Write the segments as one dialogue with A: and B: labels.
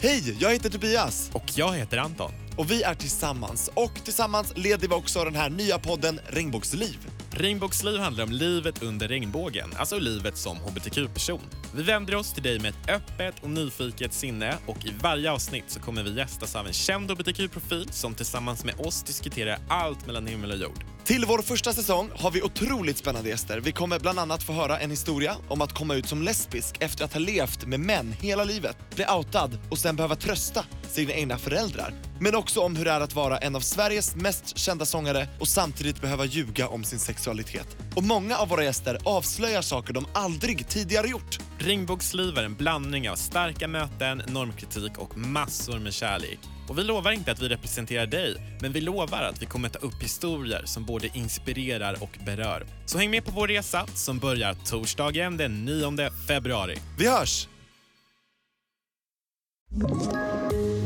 A: Hej, jag heter Tobias
B: Och jag heter Anton.
A: och vi är tillsammans. Och tillsammans leder vi också den här nya podden Regnbågsliv.
B: Regnbågsliv handlar om livet under regnbågen, alltså livet som hbtq-person. Vi vänder oss till dig med ett öppet och nyfiket sinne och i varje avsnitt så kommer vi gästas av en känd hbtq-profil som tillsammans med oss diskuterar allt mellan himmel och jord.
A: Till vår första säsong har vi otroligt spännande gäster. Vi kommer bland annat få höra en historia om att komma ut som lesbisk efter att ha levt med män hela livet, bli outad och sen behöva trösta sina egna föräldrar. Men också om hur det är att vara en av Sveriges mest kända sångare och samtidigt behöva ljuga om sin sexualitet. Och många av våra gäster avslöjar saker de aldrig tidigare gjort.
B: Regnbågsliv är en blandning av starka möten, normkritik och massor med kärlek. Och vi lovar inte att vi representerar dig, men vi lovar att vi kommer ta upp historier som både inspirerar och berör. Så häng med på vår resa som börjar torsdagen den 9 februari.
A: Vi hörs!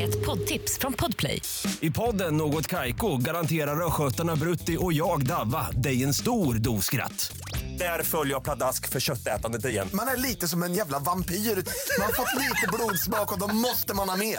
C: Ett poddtips från Podplay.
D: I podden Något Kaiko garanterar östgötarna Brutti och jag, Davva, dig en stor dos skratt. Där följer jag pladask för köttätandet igen.
E: Man är lite som en jävla vampyr. Man har fått lite blodsmak och då måste man ha mer.